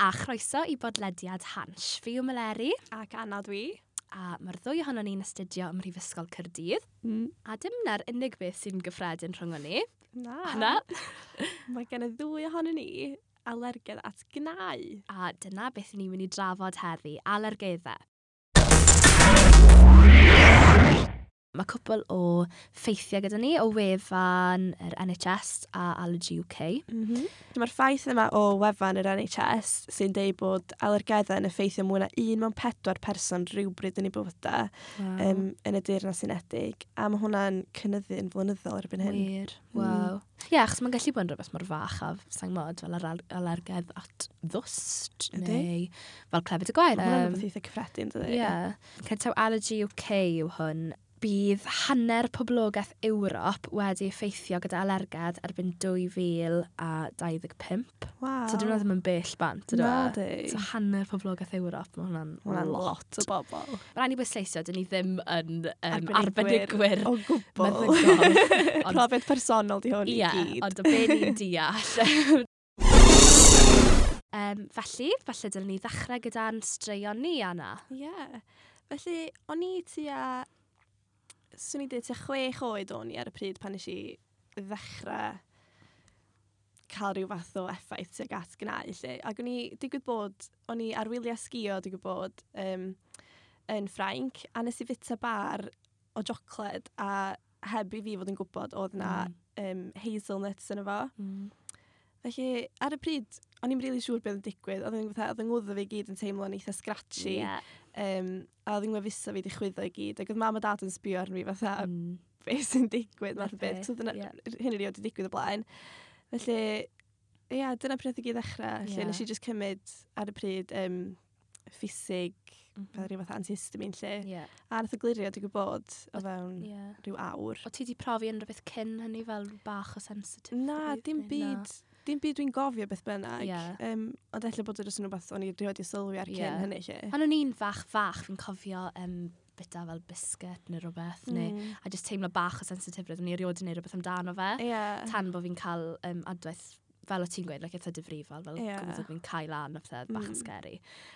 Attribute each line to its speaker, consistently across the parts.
Speaker 1: A chroeso i bodlediad Hansh. Fi yw Meleri,
Speaker 2: Ac Anna dwi.
Speaker 1: a mae'r ddwy ohono ni'n astudio ym Mhrifysgol Cyrdydd.
Speaker 2: Mm.
Speaker 1: A dim na'r unig beth sy'n gyffredin rhwng ni.
Speaker 2: Na.
Speaker 1: Anna.
Speaker 2: Mae gen y ddwy ohonyn ni alergedd at gnau.
Speaker 1: A dyna beth ni'n mynd i drafod heddi, alergeddau. Mae cwpl o ffeithiau gyda ni o wefan yr NHS a Allergy UK.
Speaker 2: Mm -hmm. Mae'r ffaith yma o wefan yr NHS sy'n deud bod alergeddau yn effeithio mwy na un mewn pedwar person rhywbryd yn ei bywydau
Speaker 1: Wow.
Speaker 2: um, yn y Deyrnas Unedig. A mae hwnna'n cynyddu'n flynyddol erbyn hyn. Mm.
Speaker 1: Wir, wow. Ie, yeah, achos mae'n gallu bod yn rhywbeth mor fach a sa'n mod fel yr al- alergedd at ddwst
Speaker 2: Ydi.
Speaker 1: neu fel clefyd y gwair.
Speaker 2: Mae hwnna'n rhywbeth eitha cyffredin, dydy.
Speaker 1: Ie. Cyntaw Allergy UK yw hwn. Bydd hanner poblogaeth Ewrop wedi effeithio gyda alergad erbyn 2025.
Speaker 2: Wow.
Speaker 1: So dwi'n meddwl ddim yn bell bant, ydw
Speaker 2: Ah. Na, di.
Speaker 1: So hanner poblogaeth Ewrop, mae hwnna'n
Speaker 2: Hwnna'n
Speaker 1: lot.
Speaker 2: lot o bobl.
Speaker 1: Mae rhaid i bwysleisio, dyn ni ddim yn um, arbenigwyr
Speaker 2: Arbenigwyr. O gwbl.
Speaker 1: meddygol. Ond
Speaker 2: Profiad personol di hwn i gyd.
Speaker 1: ond o be ni'n deall. um, felly, falle dylen ni ddechrau gyda'n straeon ni, Anna.
Speaker 2: Ie. Yeah. Felly, o'n i tua... Swn i dweud tua chwech oed o'n i ar y pryd pan nes i ddechrau cael rhyw fath o effaith tuag at gynnau. Lle. Ac o'n i, digwydd bod, o'n i ar wyliau sgio, digwydd bod, um, yn Ffrainc, a nes i fita bar o jocled, a heb i fi fod yn gwybod oedd na um, hazelnuts yn efo.
Speaker 1: Mm.
Speaker 2: Felly, ar y pryd, o'n i'n rili really siŵr beth yn digwydd. Oedd yn fatha- oedd yng ngwddw fi gyd yn teimlo'n eitha scratchy.
Speaker 1: Yeah.
Speaker 2: Um, a oedd yng Ngwefusa fi wedi chwyddo i gyd. Ac oedd mam a dad yn sbio arno fi fatha mm.
Speaker 1: Mm.
Speaker 2: beth sy'n digwydd. Math o
Speaker 1: Beth,
Speaker 2: beth. So dyna,
Speaker 1: ie.
Speaker 2: yeah. hyn yr wedi digwydd o blaen. Felly, ie, yeah, dyna pryd oedd i gyd ddechrau.
Speaker 1: Ie.
Speaker 2: Felly nes i just cymryd ar y pryd um, ffisig,
Speaker 1: Mm-hmm.
Speaker 2: fel rhyw fath antihistamine lle.
Speaker 1: Yeah.
Speaker 2: A nath y glirio dwi'n gwybod o fewn
Speaker 1: Yeah.
Speaker 2: rhyw awr.
Speaker 1: O ti di profi unrhyw beth cyn hynny fel bach o sensitif?
Speaker 2: Na,
Speaker 1: Oedd
Speaker 2: dim
Speaker 1: neu na?
Speaker 2: byd. Dim byd dwi'n gofio beth bynnag.
Speaker 1: Ie.
Speaker 2: Um, ond efallai bod yr ysyn rhywbeth o'n i rhywbeth i sylwi ar cyn
Speaker 1: Ie.
Speaker 2: hynny lle.
Speaker 1: Pan o'n i'n fach fach, fi'n cofio um, bita fel biscuit neu rhywbeth, neu
Speaker 2: Mm.
Speaker 1: a jyst teimlo bach o sensitifrwydd, o'n i erioed yn neud rhywbeth amdano fe.
Speaker 2: Ie.
Speaker 1: tan bod fi'n cael um, adwaith fel o ti'n gweud, like, eitha difrifol, fel
Speaker 2: Ie.
Speaker 1: yeah. gwmwyd fi'n cael an o pethau bach yn
Speaker 2: Mm.
Speaker 1: scary.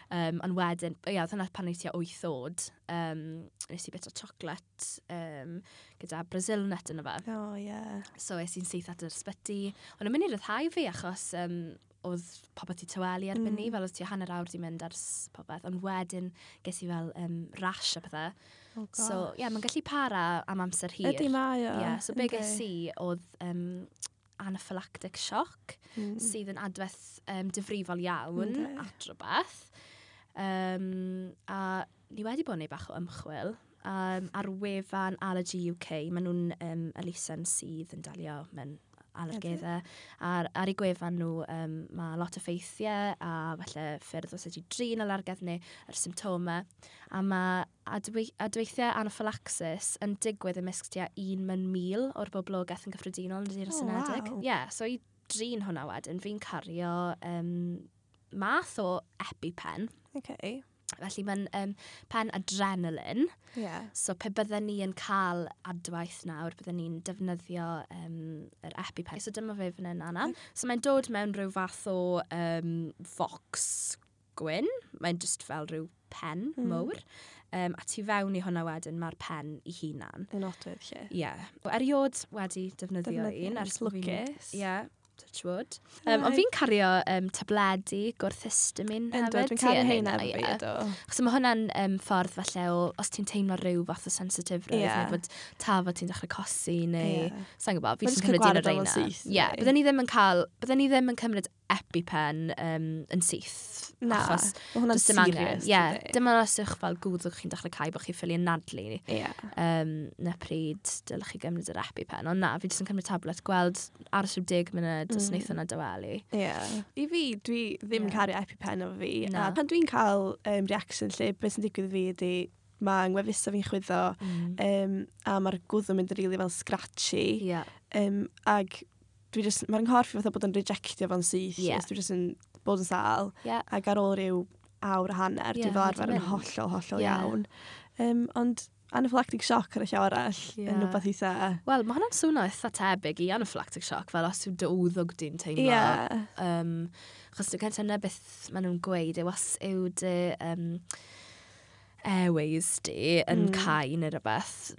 Speaker 1: Um, ond wedyn, ie, yeah, hwnna pan wyt ti a wyth oed, um, nes i bit o chocolat um, gyda Brazil nut yn y fe.
Speaker 2: O, ie.
Speaker 1: So es i'n syth at yr sbyty. Ond yn mynd i ryddhau fi achos um, oedd popeth i tywelu erbyn ni,
Speaker 2: Mm.
Speaker 1: fel oedd ti hanner awr di mynd ars popeth. Ond wedyn ges i fel um, rash a pethau.
Speaker 2: Oh,
Speaker 1: So,
Speaker 2: gosh.
Speaker 1: ie, yeah, mae'n gallu para am amser hir.
Speaker 2: Ydy mae o.
Speaker 1: Yeah, so be
Speaker 2: yndi.
Speaker 1: ges i oedd um, anaphylactic shock,
Speaker 2: Mm.
Speaker 1: sydd yn adwaith um, difrifol iawn
Speaker 2: Yndi.
Speaker 1: at rhywbeth. Um, a ni wedi bod yn neud bach o ymchwil. Um, ar wefan Allergy UK, maen nhw'n um, elusen sydd yn dalio mewn alergeddau. Ar, ar eu gwefan nhw, um, mae lot o ffeithiau a falle ffyrdd os ydy drin alergedd neu yr symptomau. A mae adwe adweithiau anaphylaxis yn digwydd ymysg tua un mewn mil o'r boblogaeth yn gyffredinol yn y Deyrnas
Speaker 2: O,
Speaker 1: Unedig.
Speaker 2: waw.
Speaker 1: Ie, yeah, so i drin hwnna wedyn, fi'n cario um, math o EpiPen.
Speaker 2: Okay.
Speaker 1: Felly mae'n um, pen adrenalin.
Speaker 2: Yeah.
Speaker 1: So pe bydden ni yn cael adwaith nawr, bydden ni'n defnyddio um, yr EpiPen. So dyma fe fan hyn,
Speaker 2: Mm-hmm.
Speaker 1: Anna. So mae'n dod mewn rhyw fath o um, fox gwyn. Mae'n just fel rhyw pen
Speaker 2: Mm.
Speaker 1: mowr. Um, a tu fewn i hwnna wedyn, mae'r pen i hunan.
Speaker 2: Yn odwydd lle.
Speaker 1: Ie. Yeah. Eriod wedi defnyddio
Speaker 2: Defnyddio
Speaker 1: un
Speaker 2: un,
Speaker 1: ers bod fi'n...
Speaker 2: lwcus.
Speaker 1: Ie, yeah, touch wood. Um, ond
Speaker 2: Right.
Speaker 1: fi'n cario um, tabledi, gwrthistamine
Speaker 2: Yn
Speaker 1: hefyd.
Speaker 2: dod, dwi'n
Speaker 1: Ti
Speaker 2: cael
Speaker 1: yn
Speaker 2: heina
Speaker 1: neud
Speaker 2: efo fi
Speaker 1: hwnna, ie?
Speaker 2: ydo.
Speaker 1: Achos mae hwnna'n um, ffordd falle o, os ti'n teimlo rhyw fath o sensitifrwydd,
Speaker 2: Ie.
Speaker 1: yeah. neu bod tafod ti'n dechrau cosi, neu...
Speaker 2: Ie.
Speaker 1: Sa'n gwybod, fi
Speaker 2: Ma'
Speaker 1: jyst
Speaker 2: jyst
Speaker 1: yn
Speaker 2: cael
Speaker 1: cymryd un o'r
Speaker 2: gwared o'n
Speaker 1: reina.
Speaker 2: syth,
Speaker 1: Ie,
Speaker 2: yndi?
Speaker 1: bydden ni ddim yn cael, bydden ni ddim yn cymryd EpiPen um, yn syth.
Speaker 2: Na,
Speaker 1: achos
Speaker 2: ma' hwnna'n
Speaker 1: does dim angen.
Speaker 2: serious,
Speaker 1: Ie,
Speaker 2: dydi?
Speaker 1: dim ond os ych fel gwddwch chi'n dechrau cael bod chi'n ffili yn nadlu ni
Speaker 2: Ie.
Speaker 1: um, na pryd dylech chi gymryd yr EpiPen. Ond na, fi jyst yn cymryd tablet gweld aros rhyw 10 munud os
Speaker 2: Mm.
Speaker 1: wnaeth hwnna dywelu.
Speaker 2: Ie. I fi, dwi ddim
Speaker 1: Ie.
Speaker 2: yn cario EpiPen efo fi.
Speaker 1: Na.
Speaker 2: A pan dwi'n cael um, reaction lle, beth sy'n digwydd i fi ydy, mae ngwefusa fi'n chwyddo, um, a mae'r gwddw mynd yn rili fel scratchy.
Speaker 1: Yeah.
Speaker 2: Um, ag dwi just, mae'r nghorff i fatha bod yn rejectio fo'n syth.
Speaker 1: Ie.
Speaker 2: Yes, dwi just yn bod yn sal.
Speaker 1: Yeah.
Speaker 2: ac ar ôl rhyw awr a hanner,
Speaker 1: Ie,
Speaker 2: dwi fel
Speaker 1: wedi
Speaker 2: arfer yn
Speaker 1: mynd.
Speaker 2: hollol, hollol
Speaker 1: Ie.
Speaker 2: iawn. Um, ond anaphylactic shock ar y llaw arall
Speaker 1: Ie.
Speaker 2: yn rhywbeth eitha...
Speaker 1: Wel, mae hwnna'n swnio eitha tebyg i anaphylactic shock, fel os yw dy wddwg di'n
Speaker 2: Ie.
Speaker 1: teimlo.
Speaker 2: Yeah.
Speaker 1: Um, chos dwi'n cyntaf yna beth maen nhw'n gweud yw os yw dy um, airways di yn
Speaker 2: Mm.
Speaker 1: mm. cae neu rhywbeth.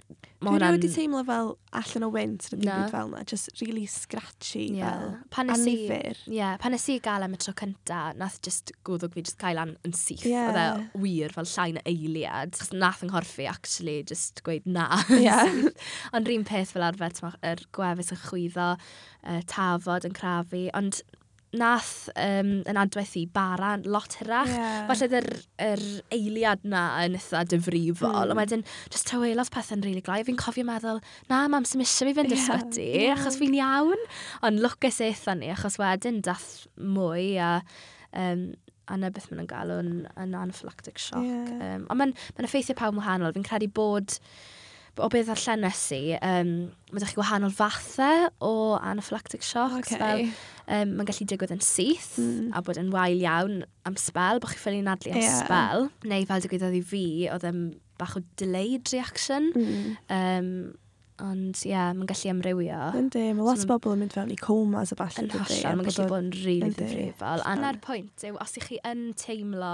Speaker 2: Dwi wedi teimlo fel allan o wynt yn y
Speaker 1: Na.
Speaker 2: byd fel yna. Just really scratchy
Speaker 1: yeah.
Speaker 2: fel.
Speaker 1: pan nes i,
Speaker 2: Anifir.
Speaker 1: yeah, pan nes i gael am y tro cynta, nath just gwddwg fi just cael lan yn syth.
Speaker 2: Ie.
Speaker 1: Oedd e wir fel llain eiliad. Chos nath yng nghorffi, actually, just gweud na.
Speaker 2: Ie.
Speaker 1: Ond rhywun peth fel arfer, t'mo', yr gwefus yn chwyddo, y tafod yn crafu, ond nath um, yn adwaith i bara lot hirach.
Speaker 2: Ie.
Speaker 1: Falle yr, yr eiliad na yn eitha dyfrifol, mm.
Speaker 2: Mm.
Speaker 1: ond wedyn, just tawelodd pethau'n rili glai. Fi'n cofio meddwl, na, mam sy'n misio fi fynd
Speaker 2: Ie,
Speaker 1: yeah, ysbyty,
Speaker 2: ie.
Speaker 1: yeah. achos fi'n iawn. Ond lwcus eitha ni, achos wedyn dath mwy a... Um, a na beth maen nhw'n galw'n yn anaphylactic shock.
Speaker 2: Ie.
Speaker 1: Um, ond mae'n ma effeithio pawb yn wahanol. Fi'n credu bod, o beth ar llennes i, um, mae ydych chi wahanol fathau o anaphylactic shock. Fel,
Speaker 2: Okay.
Speaker 1: um, mae'n gallu digwydd yn syth
Speaker 2: Mm.
Speaker 1: mm. a bod yn wael iawn am spel, bod chi ffynu nadlu am
Speaker 2: Ie.
Speaker 1: yeah. spel. Neu fel digwyddodd i fi, oedd yn bach o delayed reaction.
Speaker 2: Mm.
Speaker 1: Um, ond ie, yeah, mae'n gallu amrywio.
Speaker 2: Yndi, mae lot o
Speaker 1: So-
Speaker 2: bobl yn mynd fewn i comas a falle.
Speaker 1: Yn
Speaker 2: dydi,
Speaker 1: hollol,
Speaker 2: a
Speaker 1: mae'n gallu
Speaker 2: bod
Speaker 1: bod yn rili
Speaker 2: Yndi,
Speaker 1: ddifrifol. A
Speaker 2: hollol.
Speaker 1: na'r pwynt yw, os ych chi yn teimlo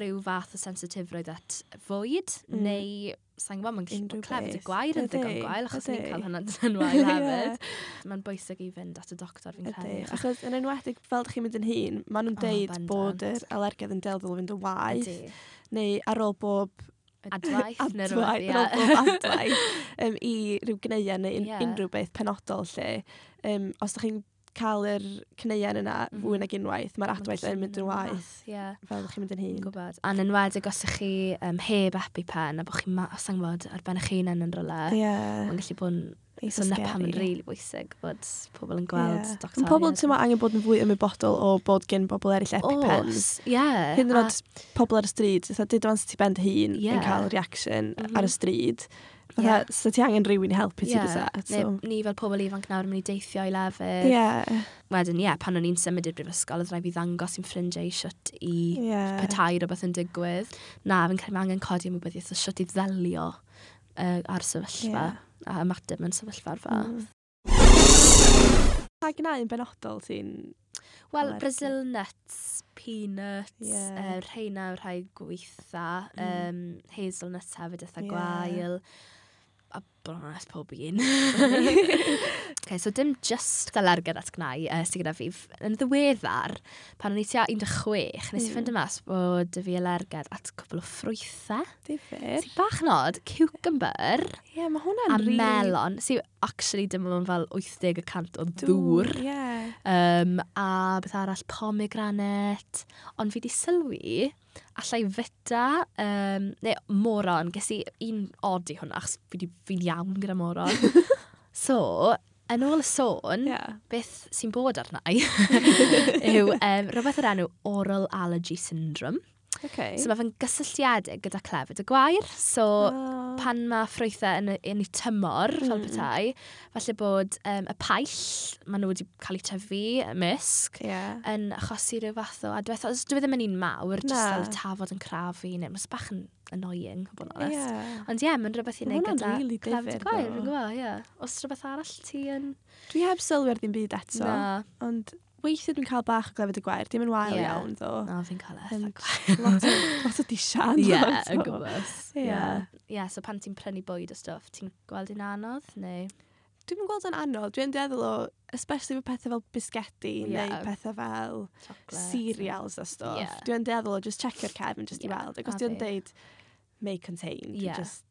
Speaker 1: rhyw fath o sensitifrwydd at fwyd,
Speaker 2: Mm.
Speaker 1: mm. neu, sa'n gwybod, mae'n gallu
Speaker 2: Unrhyw
Speaker 1: bod clefyd y
Speaker 2: beth.
Speaker 1: gwair yn
Speaker 2: Ydi,
Speaker 1: ddigon gwael, achos ni'n
Speaker 2: ydi.
Speaker 1: cael hynna'n yn wael
Speaker 2: Ie.
Speaker 1: hefyd. Mae'n bwysig i fynd at y doctor, fi'n credu.
Speaker 2: Ydy,
Speaker 1: achos-
Speaker 2: achos yn enwedig fel ydych chi'n mynd yn hun, maen nhw'n
Speaker 1: O,
Speaker 2: deud
Speaker 1: bendant.
Speaker 2: bod yr alergedd yn delfel fynd yn waith,
Speaker 1: Ydi.
Speaker 2: neu ar ôl bob
Speaker 1: Adwaith, neu
Speaker 2: adwaith,
Speaker 1: rywbeth, ie.
Speaker 2: ar ôl bob adwaith um, i rhyw gneia neu un,
Speaker 1: Ie.
Speaker 2: unrhyw beth penodol lle. Um, os ydych chi'n cael yr cneuan yna
Speaker 1: Mhm.
Speaker 2: fwy nag unwaith, mae'r
Speaker 1: Ma'n
Speaker 2: adwaith
Speaker 1: gallu
Speaker 2: yn mynd yn waeth
Speaker 1: Ie,
Speaker 2: fel ydych chi'n mynd yn
Speaker 1: fi'n
Speaker 2: hun.
Speaker 1: gwybod. A'n enwedig os ych chi um, heb epi pen, a bod chi'n sangfod ar ben eich hunan yn rhywle, yeah.
Speaker 2: Ie,
Speaker 1: mae'n gallu bod yn...
Speaker 2: eitha
Speaker 1: So na pam yn
Speaker 2: scary.
Speaker 1: rili bwysig bod pobl yn gweld
Speaker 2: Ie.
Speaker 1: yeah.
Speaker 2: Mae
Speaker 1: doctoriad.
Speaker 2: Pobl ti'n angen bod yn fwy ymwybodol o bod gen bobl eraill epipens.
Speaker 1: Oes, ie.
Speaker 2: Hyn yn
Speaker 1: a-
Speaker 2: oed pobl ar y stryd, fatha dyd o'n ti ben dy hun yn
Speaker 1: Ie.
Speaker 2: cael reaction
Speaker 1: Mhm.
Speaker 2: ar y stryd. Fatha,
Speaker 1: Ie.
Speaker 2: so ti angen rhywun i helpu ti
Speaker 1: Ie,
Speaker 2: yeah.
Speaker 1: Neu
Speaker 2: so.
Speaker 1: ni fel pobl ifanc nawr yn mynd i deithio i lefydd.
Speaker 2: Ie,
Speaker 1: Wedyn, ie, pan o'n i'n symud i'r brifysgol, oedd rhaid fi ddangos i'n ffrindiau i siwt i
Speaker 2: ie.
Speaker 1: petai rhywbeth yn digwydd. Na, fi'n credu mae angen codi ymwybyddiaeth o siwt i ddelio uh, ar sefyllfa,
Speaker 2: Ie.
Speaker 1: a ymateb mewn sefyllfa'r fath.
Speaker 2: Mm. Pa gnau yn benodol ti'n...
Speaker 1: Wel,
Speaker 2: Allergy.
Speaker 1: Brazil nuts, peanuts,
Speaker 2: Ie.
Speaker 1: yeah. uh, rheina yw'r rhai gweitha,
Speaker 2: Mm.
Speaker 1: um, hazelnuts hefyd eitha yeah.
Speaker 2: Ie.
Speaker 1: gwael, a bod yn honest pob un. okay, so dim just ddalergyd at gnau uh, sydd gyda fi. F- Yn ddiweddar, pan o'n i tua 16, nes i
Speaker 2: Mm.
Speaker 1: ffynd y mas bod fi alergyd at cwbl o ffrwythau.
Speaker 2: Difyr.
Speaker 1: Ti'n bach nod, cucumber
Speaker 2: Ie, mae hwnna'n
Speaker 1: a
Speaker 2: rili-
Speaker 1: melon, sydd actually dim ond fel 80% o ddŵr.
Speaker 2: Dŵr. Ie.
Speaker 1: Um, a beth arall, pomegranate. Ond fi di sylwi, allai fyta, um, neu moron, ges i un od i hwnna, achos fi di fi'n iawn gyda moron. so, yn ôl y sôn,
Speaker 2: Ie.
Speaker 1: beth sy'n bod arna i yw um, rhywbeth o'r enw oral allergy syndrome.
Speaker 2: Okay.
Speaker 1: So mae fe'n gysylltiedig gyda clefyd y gwair. So, pan mae ffrwythau yn, yn eu tymor, fel
Speaker 2: Mm.
Speaker 1: petai, falle bod um, y paill, maen nhw wedi cael eu tyfu, y mysg,
Speaker 2: Ie.
Speaker 1: yn achosi rhyw fath o adwaith. Os dwi ddim yn un mawr, jyst
Speaker 2: Na.
Speaker 1: fel y tafod yn crafu, neu mae'n bach yn annoying, o bod yn
Speaker 2: Ie.
Speaker 1: onest. Ond ie, yeah, mae'n rhywbeth i
Speaker 2: Ma'
Speaker 1: wneud
Speaker 2: hwnna'n
Speaker 1: gyda
Speaker 2: rili
Speaker 1: clefyd
Speaker 2: difyr,
Speaker 1: y gwair,
Speaker 2: though.
Speaker 1: yn gwybod, ie. Os rhywbeth arall ti yn...
Speaker 2: Dwi heb sylwi ar ddim byd eto.
Speaker 1: Na,
Speaker 2: Ond weithiau dwi'n cael bach o glefyd y gwair. Dim yn wael
Speaker 1: Ie.
Speaker 2: iawn, ddo.
Speaker 1: na fi'n cael
Speaker 2: Yym,
Speaker 1: eithaf.
Speaker 2: lot o, lot o disian.
Speaker 1: Ie,
Speaker 2: lot
Speaker 1: yn
Speaker 2: o-
Speaker 1: gwybod.
Speaker 2: Ie.
Speaker 1: Ie, Ie, so pan ti'n prynu bwyd o stwff, ti'n gweld un anodd, neu...
Speaker 2: Dwi'm yn gweld yn anodd, dwi'n deddwl o, especially with pethau fel bisgedi
Speaker 1: Ie.
Speaker 2: neu pethau fel
Speaker 1: Chocolate.
Speaker 2: cereals a stuff.
Speaker 1: Ie.
Speaker 2: Dwi'n deddwl o just checio'r cefn
Speaker 1: Ie,
Speaker 2: just i weld. Ac
Speaker 1: a
Speaker 2: os dwi'n
Speaker 1: fi.
Speaker 2: deud may contain,
Speaker 1: Ie.
Speaker 2: dwi'n just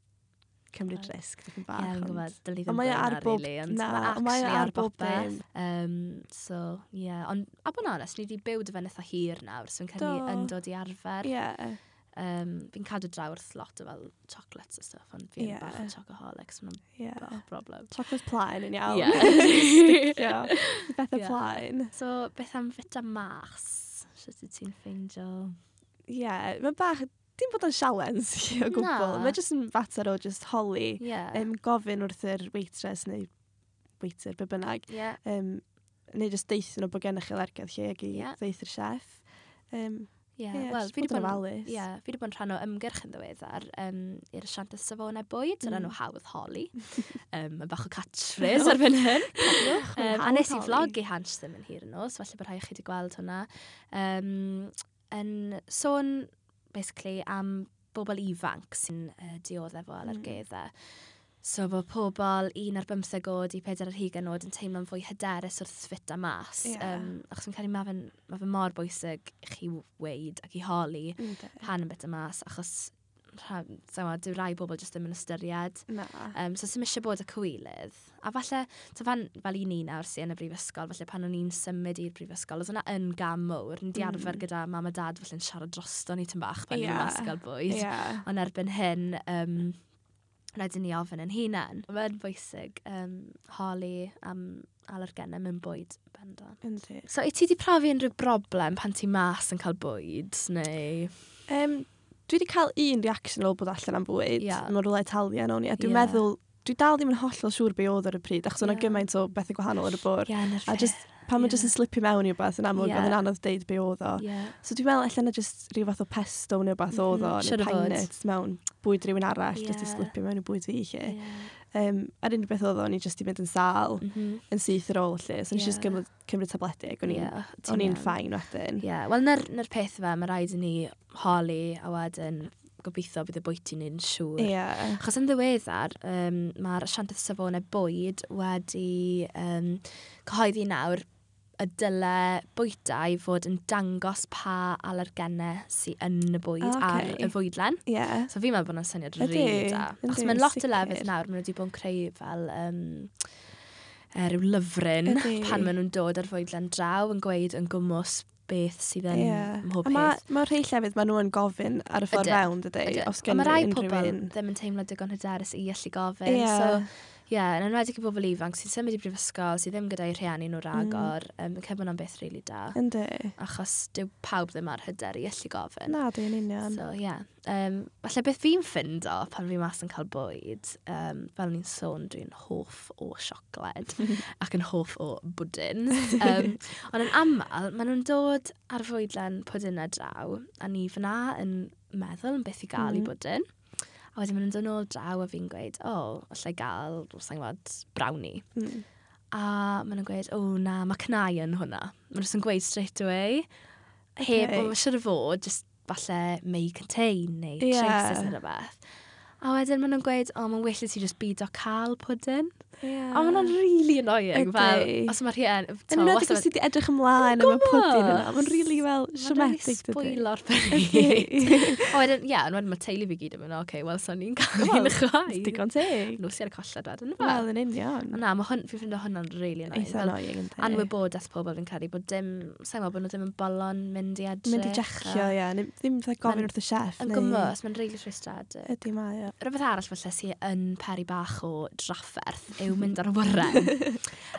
Speaker 2: cymryd
Speaker 1: Gweld.
Speaker 2: risg dipyn
Speaker 1: Ie,
Speaker 2: bach.
Speaker 1: fi'n
Speaker 2: ond-
Speaker 1: gwybod, dyl i
Speaker 2: Ond
Speaker 1: ddim bod
Speaker 2: mae e ar
Speaker 1: yna,
Speaker 2: bob-
Speaker 1: really, ond
Speaker 2: Na,
Speaker 1: mae
Speaker 2: mae e
Speaker 1: actually
Speaker 2: ar bob
Speaker 1: beth.
Speaker 2: dim.
Speaker 1: Um, so, ie. Yeah. Ond, a bod yn honest, ni wedi byw dy fe'n eitha hir nawr, so fi'n credu
Speaker 2: Do.
Speaker 1: ni yn dod i arfer.
Speaker 2: Ie.
Speaker 1: Um, fi'n cadw draw wrth lot o fel chocolates a stuff, ond fi'n
Speaker 2: Ie.
Speaker 1: yeah. bach yn chocoholic, so mae'n
Speaker 2: Ie.
Speaker 1: bach o broblem.
Speaker 2: Chocolate plaen yn iawn.
Speaker 1: Ie.
Speaker 2: Sticio. i Bethau
Speaker 1: Ie.
Speaker 2: plaen.
Speaker 1: So, beth am fita mas? Sut wyt ti'n ffeindio?
Speaker 2: Ie. Mae'n bach, dim bod o'n sialens i o gwbl.
Speaker 1: Na.
Speaker 2: Mae jyst yn fater o just holi.
Speaker 1: Ie.
Speaker 2: um, gofyn wrth yr waitress neu waiter, be bynnag,
Speaker 1: Ie.
Speaker 2: um, neu jyst deithio nhw bod gennych chi lergedd lle ag i
Speaker 1: Ie.
Speaker 2: yeah. ddeith i'r chef. Um,
Speaker 1: Ie,
Speaker 2: Ie,
Speaker 1: wel,
Speaker 2: jyst
Speaker 1: fi wedi
Speaker 2: bod yn
Speaker 1: bod yn-
Speaker 2: ofalus.
Speaker 1: Ie, fi wedi bod yn rhan o ymgyrch yn ddiweddar um, i'r sianta safonau bwyd, mm. yr
Speaker 2: Mm.
Speaker 1: enw hawdd holi. um, yn bach o catchphrase erbyn hyn. um, a nes i vlog i hans ddim yn hir yn os, felly bod rhai chi wedi gweld hwnna. Um, yn sôn, basically, am bobl ifanc sy'n uh, dioddef o
Speaker 2: Mm.
Speaker 1: alergeddau. So bod pobl 1 ar 15 oed i 4 ar 20 oed yn teimlo'n fwy hyderus wrth ffit a mas.
Speaker 2: Ie.
Speaker 1: Um, achos fi'n credu mae fe'n ma fe mor bwysig i chi weid ac i holi pan yn bit y mas achos rhan- sa'n gwbod, dyw rai bobl jyst ddim yn ystyried.
Speaker 2: Na.
Speaker 1: Um, so sy'n eisiau bod y cywilydd. A falle, ta fan, fel un ni nawr sy'n yn y brifysgol, falle pan o'n i'n symud i'r brifysgol, oedd hwnna yn gam mowr, yn di
Speaker 2: Mm.
Speaker 1: arfer gyda mam a dad falle'n siarad drosto ni tyn bach pan
Speaker 2: Ie.
Speaker 1: yeah. i'n gael bwyd.
Speaker 2: Ie.
Speaker 1: Ond erbyn hyn, um, rhaid i ni ofyn yn hunan. Mae'n bwysig um, holi am alergenau mewn bwyd bendant.
Speaker 2: Yndi.
Speaker 1: So, i ti di profi unrhyw broblem pan ti mas yn cael bwyd, neu...
Speaker 2: Um, dwi wedi cael un reaction o bod allan am bwyd
Speaker 1: Ie.
Speaker 2: yn o'r rwle Italian o'n i, a dwi'n
Speaker 1: Ie.
Speaker 2: meddwl, dwi dal ddim yn hollol siŵr be oedd ar y pryd, achos o'na
Speaker 1: Ie.
Speaker 2: gymaint o bethau gwahanol ar y bwrdd.
Speaker 1: Ie, yn yr
Speaker 2: A just, pan mae'n
Speaker 1: Ie.
Speaker 2: just yn slipio mewn i rhywbeth yn amlwg,
Speaker 1: Ie.
Speaker 2: oedd yn anodd deud be oedd o.
Speaker 1: Ie,
Speaker 2: So dwi'n meddwl allan na just rhyw fath o pesto neu beth oedd o,
Speaker 1: Mhm, siŵr
Speaker 2: neu
Speaker 1: o fod.
Speaker 2: painet mewn bwyd rhywun arall, just i
Speaker 1: Ie.
Speaker 2: slipio mewn i bwyd fi lle.
Speaker 1: ie.
Speaker 2: Um, a'r unig beth oedd o, o'n i just i mynd yn sal,
Speaker 1: Mhm.
Speaker 2: yn syth ar ôl lle, so nes i just
Speaker 1: Ie.
Speaker 2: gymryd cymryd tabledig, o'n i'n-
Speaker 1: Ie, ti'n
Speaker 2: o'n i'n
Speaker 1: iawn.
Speaker 2: ffain wedyn.
Speaker 1: Ie, wel, na'r, nar peth fe, mae rhaid i ni holi a wedyn gobeithio bydd y bwyty ni'n siŵr.
Speaker 2: Ie.
Speaker 1: Achos yn ddiweddar, um, mae'r asiantaeth safonau bwyd wedi um, cyhoeddi nawr y dyle bwytau fod yn dangos pa alergenau sydd yn y bwyd
Speaker 2: Ah,
Speaker 1: ar
Speaker 2: ocê.
Speaker 1: y fwydlen.
Speaker 2: Ie.
Speaker 1: So fi'n meddwl bod hwnna'n syniad
Speaker 2: Ydi,
Speaker 1: rili da. Achos
Speaker 2: ydi,
Speaker 1: mae'n lot o
Speaker 2: sicr.
Speaker 1: lefydd nawr, maen nhw wedi bod yn creu fel um, er, rhyw lyfryn
Speaker 2: Ydi.
Speaker 1: pan maen nhw'n dod ar fwydlen draw yn gweud yn gwmws beth sydd yn yeah. mhob
Speaker 2: A mae
Speaker 1: peth.
Speaker 2: ma rhai llefydd maen nhw'n gofyn ar y ffordd
Speaker 1: Ydyn,
Speaker 2: mewn, dydy,
Speaker 1: Ydyn.
Speaker 2: os
Speaker 1: Ond
Speaker 2: gen
Speaker 1: mae
Speaker 2: i
Speaker 1: rai
Speaker 2: unrhyw
Speaker 1: pobl
Speaker 2: un.
Speaker 1: ddim yn teimlo digon hyderus i allu
Speaker 2: Ie,
Speaker 1: gofyn. So, ie, yeah, yn enwedig i bobl ifanc sy'n symud i brifysgol, sydd ddim gyda'i rhiannu nhw ragor, mm. um, cefn o'n beth rili da.
Speaker 2: yndi.
Speaker 1: Achos dyw pawb ddim ar hyder i allu gofyn.
Speaker 2: Na, dwi'n union.
Speaker 1: So, ie. Yeah. Um, falle beth fi'n ffindo pan fi mas yn cael bwyd, um, fel ni'n sôn, dwi'n hoff o siocled ac yn hoff o bwdyn. Um, ond yn aml, maen nhw'n dod ar fwydlen pwdynau draw, a ni fyna yn meddwl yn beth i gael mm.
Speaker 2: Mhm.
Speaker 1: i bwdyn. A wedyn maen nhw'n dod nôl draw a fi'n gweud, o, oh, allai gael, sa'n gwybod, brownie.
Speaker 2: Mm.
Speaker 1: A maen nhw'n gweud, o oh, na, mae cnau yn hwnna. Maen nhw'n gweud straight away. Heb,
Speaker 2: Ocê.
Speaker 1: okay. mae'n siŵr o fod, just falle may contain neu
Speaker 2: Ie.
Speaker 1: yeah. traces neu rhywbeth. A wedyn maen nhw'n gweud, o, oh, mae'n well i ti just byd o cael pwdyn.
Speaker 2: Ie.
Speaker 1: Yeah. A maen nhw'n really annoying.
Speaker 2: Ah. Ydi.
Speaker 1: Fel, os mae'r hyn...
Speaker 2: Yn enwedig os ti wedi edrych ymlaen am y pwdyn yna, mae'n rili fel siomedig, dydy.
Speaker 1: Spoilo'r byd.
Speaker 2: Ydi.
Speaker 1: O, wedyn, ie, ond wedyn mae teulu fi gyd yn mynd, oce, okay, wel, so ni'n cael
Speaker 2: Wel,
Speaker 1: un chwaith.
Speaker 2: Digon teg.
Speaker 1: Nos i'r colled wedyn, yn fel.
Speaker 2: Wel, yn union.
Speaker 1: Na, mae hwn, fi'n ffrind o hwnna'n really annoying.
Speaker 2: Eitha
Speaker 1: Fel,
Speaker 2: annoying, yndi.
Speaker 1: anwybodaeth pobl fi'n credu bod dim, sa'n gwybod bod nhw ddim yn bolon mynd i edrych.
Speaker 2: Mynd i jechio, ie. neu Ddim fatha
Speaker 1: Ma'n-
Speaker 2: gofyn wrth y chef.
Speaker 1: Yn
Speaker 2: neu-
Speaker 1: gwmwys, mae'n rili rhwystradu.
Speaker 2: Ydi mae,
Speaker 1: Rhywbeth arall felly sy'n yn peri bach o drafferth yw mynd ar y wyren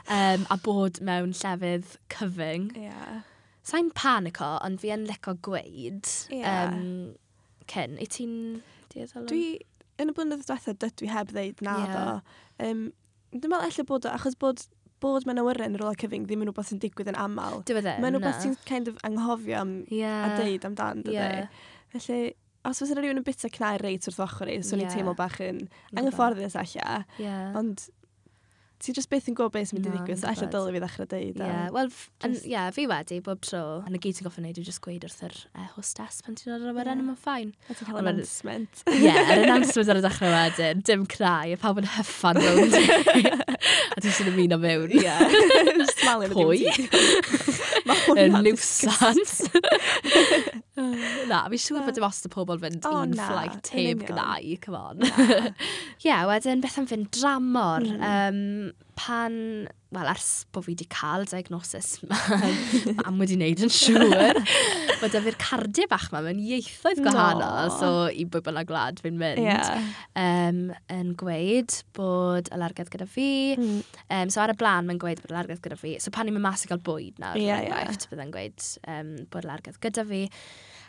Speaker 1: um, a bod mewn llefydd cyfyng.
Speaker 2: ie. Ie.
Speaker 1: Sa'n panico, ond fi yn lico gweud
Speaker 2: Ie.
Speaker 1: yym, cyn. I ti'n dieddol? o'n-
Speaker 2: Dwi, yn y blynyddoedd diwethaf, dydw i heb ddeud na
Speaker 1: Ie.
Speaker 2: yeah. do. Um, dwi'n meddwl efallai bod o, achos bod, bod mewn awyren yn rôl y cyfing ddim yn rhywbeth sy'n digwydd yn aml.
Speaker 1: Dwi fydde?
Speaker 2: Mae'n rhywbeth ti'n kind of anghofio am
Speaker 1: Ie.
Speaker 2: a deud amdan, dydy.
Speaker 1: Ie.
Speaker 2: Yeah. Felly, os fysa rhywun yn bita cnau reit wrth ochr i, swn
Speaker 1: Ie.
Speaker 2: i'n teimlo bach yn
Speaker 1: Yn gwbod.
Speaker 2: anghyfforddus alla.
Speaker 1: Ie.
Speaker 2: Ond ti just beth yn gwybod beth sy'n mynd i
Speaker 1: Na,
Speaker 2: ddigwydd, so
Speaker 1: yn
Speaker 2: alla
Speaker 1: gwbod.
Speaker 2: dylai fi ddechrau deud.
Speaker 1: Ie,
Speaker 2: a-
Speaker 1: wel, f- yn-
Speaker 2: Jyst-
Speaker 1: ie, fi wedi, bob tro. Yn y gyd ti'n goffa wneud, dwi'n just gweid wrth yr eh, hostess pan ti'n dod ar y
Speaker 2: Ie.
Speaker 1: wyren, mae'n ffain.
Speaker 2: A ti'n cael
Speaker 1: Ond ma'n-
Speaker 2: announcement.
Speaker 1: Ie, yr announcement ar y dechrau wedyn, dim crai, a pawb yn hyffan rownd i. A ti'n sy'n ymuno mewn.
Speaker 2: Ie. Just smiling at
Speaker 1: Pwy?
Speaker 2: you. Mae
Speaker 1: Yn
Speaker 2: hwnna'n
Speaker 1: nuisance. Na, fi'n siŵr bod dim os y pobl fynd
Speaker 2: O,
Speaker 1: un
Speaker 2: na,
Speaker 1: flight
Speaker 2: yn
Speaker 1: teb
Speaker 2: union.
Speaker 1: gnau, come on. Ie, wedyn beth am fynd dramor.
Speaker 2: Mm.
Speaker 1: Um, pan, wel, ers bod fi wedi cael diagnosis ma, mam wedi wneud yn siŵr, bod da fi'r cardiau bach ma mewn ieithoedd gwahanol,
Speaker 2: No.
Speaker 1: so i bwy bynnag gwlad fi'n mynd,
Speaker 2: Ie.
Speaker 1: um, yn gweud bod alargedd gyda fi,
Speaker 2: Mm.
Speaker 1: Um, so ar y blaen, mae'n gweud bod largedd gyda fi. So pan ni'n mynd mas i gael bwyd nawr,
Speaker 2: Ie,
Speaker 1: yeah,
Speaker 2: ie.
Speaker 1: yeah. Waifed, bydde'n gweud um, bod largedd gyda fi.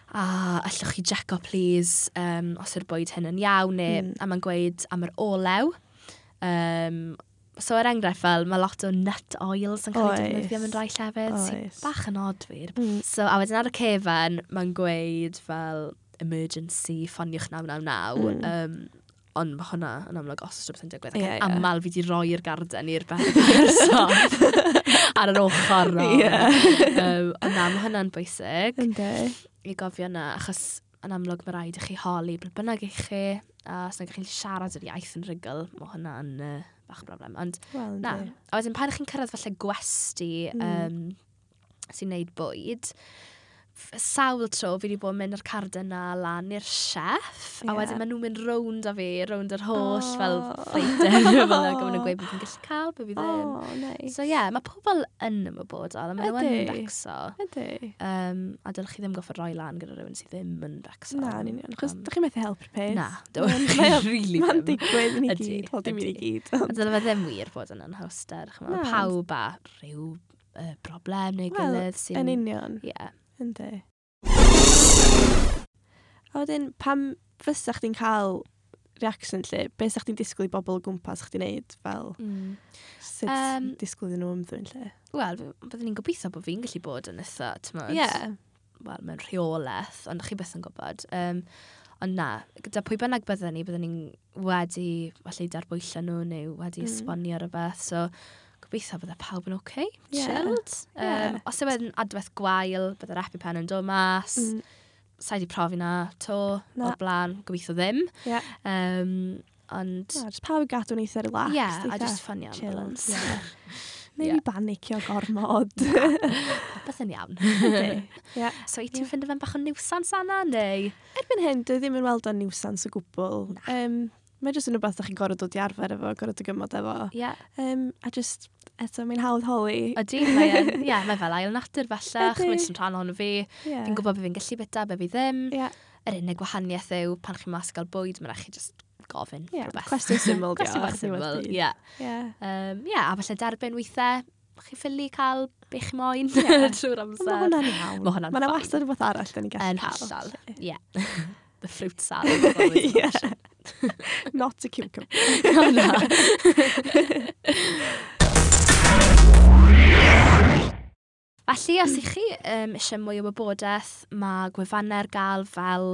Speaker 1: A allwch chi jeco, please,
Speaker 2: Hmm.
Speaker 1: um, os yw'r bwyd hyn yn iawn. Neu,
Speaker 2: Mm.
Speaker 1: A mae'n gweud am yr olew. Um, So er enghraifft fel, mae lot o nut oils yn cael
Speaker 2: Oes.
Speaker 1: ei defnyddio mewn rhai llefydd, sy'n
Speaker 2: Oes.
Speaker 1: bach yn odd wir.
Speaker 2: Mm.
Speaker 1: So, a wedyn ar y cefan, mae'n gweud fel emergency, ffoniwch 999.
Speaker 2: Mm.
Speaker 1: Mm. Um, ond mae hwnna yn amlwg os oes rhywbeth yn digwydd. Ac
Speaker 2: Ie, ie.
Speaker 1: yn aml fi di roi'r garden i'r beth person ar yr ochr o.
Speaker 2: Ie.
Speaker 1: Um, ond na, mae hwnna'n bwysig
Speaker 2: Ynddi.
Speaker 1: i gofio yna, achos yn amlwg mae rhaid i chi holi ble bynnag i chi, a os nag chi'n siarad yr iaith yn rygl, mae hwnna'n uh, bach broblem. Ond
Speaker 2: Wel,
Speaker 1: na,
Speaker 2: ynddi.
Speaker 1: a wedyn pan ych chi'n cyrraedd falle gwesti
Speaker 2: Mm.
Speaker 1: um, sy'n neud bwyd, f- sawl tro fi wedi bod yn mynd ar card yna lan i'r chef,
Speaker 2: Ie.
Speaker 1: a wedyn maen nhw'n mynd rownd a fi, rownd yr holl fel
Speaker 2: Oh.
Speaker 1: ffreiter, fel yna, a maen nhw'n gweud beth fi'n gallu cael, beth fi ddim.
Speaker 2: O, neis.
Speaker 1: So ie, yeah, mae pobl yn ymwybodol, a maen nhw yn
Speaker 2: Ydi.
Speaker 1: becso.
Speaker 2: Ynddi.
Speaker 1: Um, a dylech chi ddim goffa roi lan gyda rhywun sydd ddim yn becso.
Speaker 2: Na, yn union. Chos,
Speaker 1: Yym,
Speaker 2: da chi'n methu helpu'r peth.
Speaker 1: Na, do.
Speaker 2: Mae'n- mae'n-
Speaker 1: really
Speaker 2: Mae'n
Speaker 1: ddim.
Speaker 2: digwydd yn i
Speaker 1: Ydi,
Speaker 2: gyd. Wel, dim yn i gyd.
Speaker 1: A dyle fe ddim wir bod yn anhawster. ch'mo',
Speaker 2: Na.
Speaker 1: Mae pawb a rhyw uh, broblem neu
Speaker 2: Wel,
Speaker 1: gilydd
Speaker 2: Yn
Speaker 1: sy'n...
Speaker 2: union.
Speaker 1: Ie.
Speaker 2: Yndi. A wedyn, pam fysa chdi'n cael reaction lle, be sa chdi'n disgwyl i bobl o gwmpas chdi wneud fel
Speaker 1: Mm.
Speaker 2: sut
Speaker 1: Yym,
Speaker 2: disgwyl iddyn nhw ymddwyn lle?
Speaker 1: Wel, f- byddwn i'n gobeithio bod fi'n gallu bod yn eitha, ti'n wel, mewn rheolaeth, ond chi byth yn gwybod. Um, ond na, gyda pwy bynnag bydden ni, bydden ni'n wedi, falle, darbwyllo nhw neu wedi
Speaker 2: Mm.
Speaker 1: mm. esbonio rhywbeth, so gobeithio bydde pawb yn oce, okay,
Speaker 2: Ie.
Speaker 1: chilled.
Speaker 2: Ie.
Speaker 1: Um, os yw wedyn adwaith gwael, bydde'r EpiPen yn dod mas, mm.
Speaker 2: Mm,
Speaker 1: sa i wedi profi na to,
Speaker 2: Na.
Speaker 1: o'r blaen, gobeithio ddim.
Speaker 2: Ie.
Speaker 1: Um, ond,
Speaker 2: na, jyst pawb i gadw'n eitha relaxed.
Speaker 1: ie, a
Speaker 2: eitha
Speaker 1: just ffonio
Speaker 2: chilled,
Speaker 1: ambulance.
Speaker 2: ie. Neu
Speaker 1: Ie.
Speaker 2: i banicio gormod.
Speaker 1: Bythyn iawn.
Speaker 2: Yndi. Ie.
Speaker 1: so, i ti'n ffindio fe'n bach o niwsans anna, neu?
Speaker 2: Erbyn hyn, dwi ddim yn weld o'n niwsans o gwbl. Um, Mae jyst yn rhywbeth da chi'n gorau dod i arfer efo, gorau dy gymod efo.
Speaker 1: Ie.
Speaker 2: Um, a jyst, eto, mae'n hawdd holi.
Speaker 1: Ydy, mae yn, ie, mae fel ail natur bellach,
Speaker 2: Ydi.
Speaker 1: mae'n jyst yn rhan ohono fi,
Speaker 2: Ie.
Speaker 1: fi'n gwybod beth fi'n gallu byta, beth fi ddim.
Speaker 2: Ie.
Speaker 1: Yr unig gwahaniaeth yw pan chi'n mas i gael bwyd, mae'n rhaid chi just gofyn
Speaker 2: Ie,
Speaker 1: rhywbeth.
Speaker 2: cwestiwn syml 'di o,
Speaker 1: Cwestiwn
Speaker 2: ar
Speaker 1: bach
Speaker 2: ddiwedd
Speaker 1: syml,
Speaker 2: byd.
Speaker 1: ie.
Speaker 2: Ie.
Speaker 1: Yym, Ie, a falle derbyn weithiau, chi ffili cael be chi moyn
Speaker 2: Ie.
Speaker 1: trwy'r
Speaker 2: Ond Mae
Speaker 1: amser.
Speaker 2: hwnna'n iawn.
Speaker 1: Ma' hwnna'n
Speaker 2: Mae yna
Speaker 1: fine.
Speaker 2: wastad rhywbeth arall da ni'n gallu
Speaker 1: Yn
Speaker 2: cael.
Speaker 1: hollol. Ie. The fruit salad. is always an
Speaker 2: Ie.
Speaker 1: option.
Speaker 2: Not a cucumber.
Speaker 1: O, na. Felly, os i chi um, eisiau mwy o wybodaeth, mae gwefannau'r gael fel...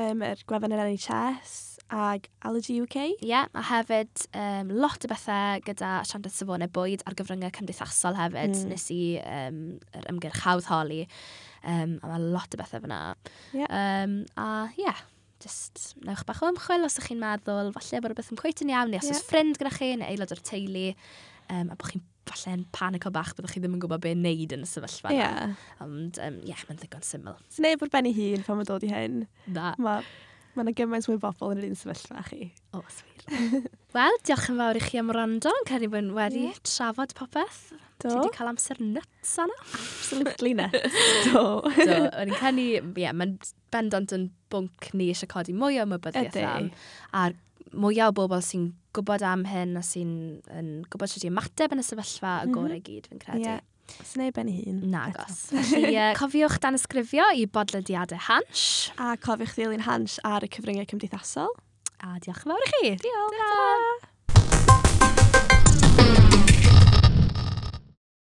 Speaker 2: Um, yr gwefan yr NHS ag Allergy UK.
Speaker 1: Ie, yeah, a hefyd um, lot o bethau gyda siandaeth safonau bwyd ar gyfryngau cymdeithasol hefyd.
Speaker 2: Mm.
Speaker 1: Mm. Nes i um, yr ymgyrch hawdd holi, um, a mae lot o bethau fyna.
Speaker 2: Ie.
Speaker 1: Um, a ie, yeah, just newch bach o ymchwil os ych chi'n meddwl, falle bod rhywbeth yn cweit yn iawn, neu os
Speaker 2: Ie.
Speaker 1: oes ffrind gyda chi, neu aelod o'r teulu, um, a bod chi'n falle yn panic o bach, byddwch chi ddim yn gwybod be wneud yn y sefyllfa
Speaker 2: Ie.
Speaker 1: yna. Ond um, ie, mae'n ddigon syml.
Speaker 2: Sy'n neb o'r ben i hun pan mae'n dod i hyn.
Speaker 1: Da.
Speaker 2: Mae ma yna gymaint mwy o bobl yn yr un sefyllfa â chi.
Speaker 1: O, swir. Wel, diolch yn fawr i chi am wrando. Yn cael ni bod yn wedi
Speaker 2: Ie.
Speaker 1: trafod popeth. Ti
Speaker 2: Do.
Speaker 1: wedi cael amser nuts anna?
Speaker 2: Absolutely net. Do.
Speaker 1: Do, o'n i'n cael ni, ie, mae'n bendant yn bwnc ni eisiau codi mwy o ymwybyddiaeth
Speaker 2: Ydi.
Speaker 1: am. A mwy o bobl sy'n gwybod am hyn a sy'n yn gwybod sydd i ymateb yn y sefyllfa y
Speaker 2: Mhm.
Speaker 1: gorau gyd, fi'n credu.
Speaker 2: Ie. Sy'n neb ben i hun.
Speaker 1: Nagos. Felly, yy, cofiwch dan ysgrifio i bodlediadau Hansh.
Speaker 2: A cofiwch ddilyn hans ar y cyfryngau cymdeithasol.
Speaker 1: A diolch yn fawr i chi. Diolch.
Speaker 2: Ta-ra!
Speaker 1: Ta-ra.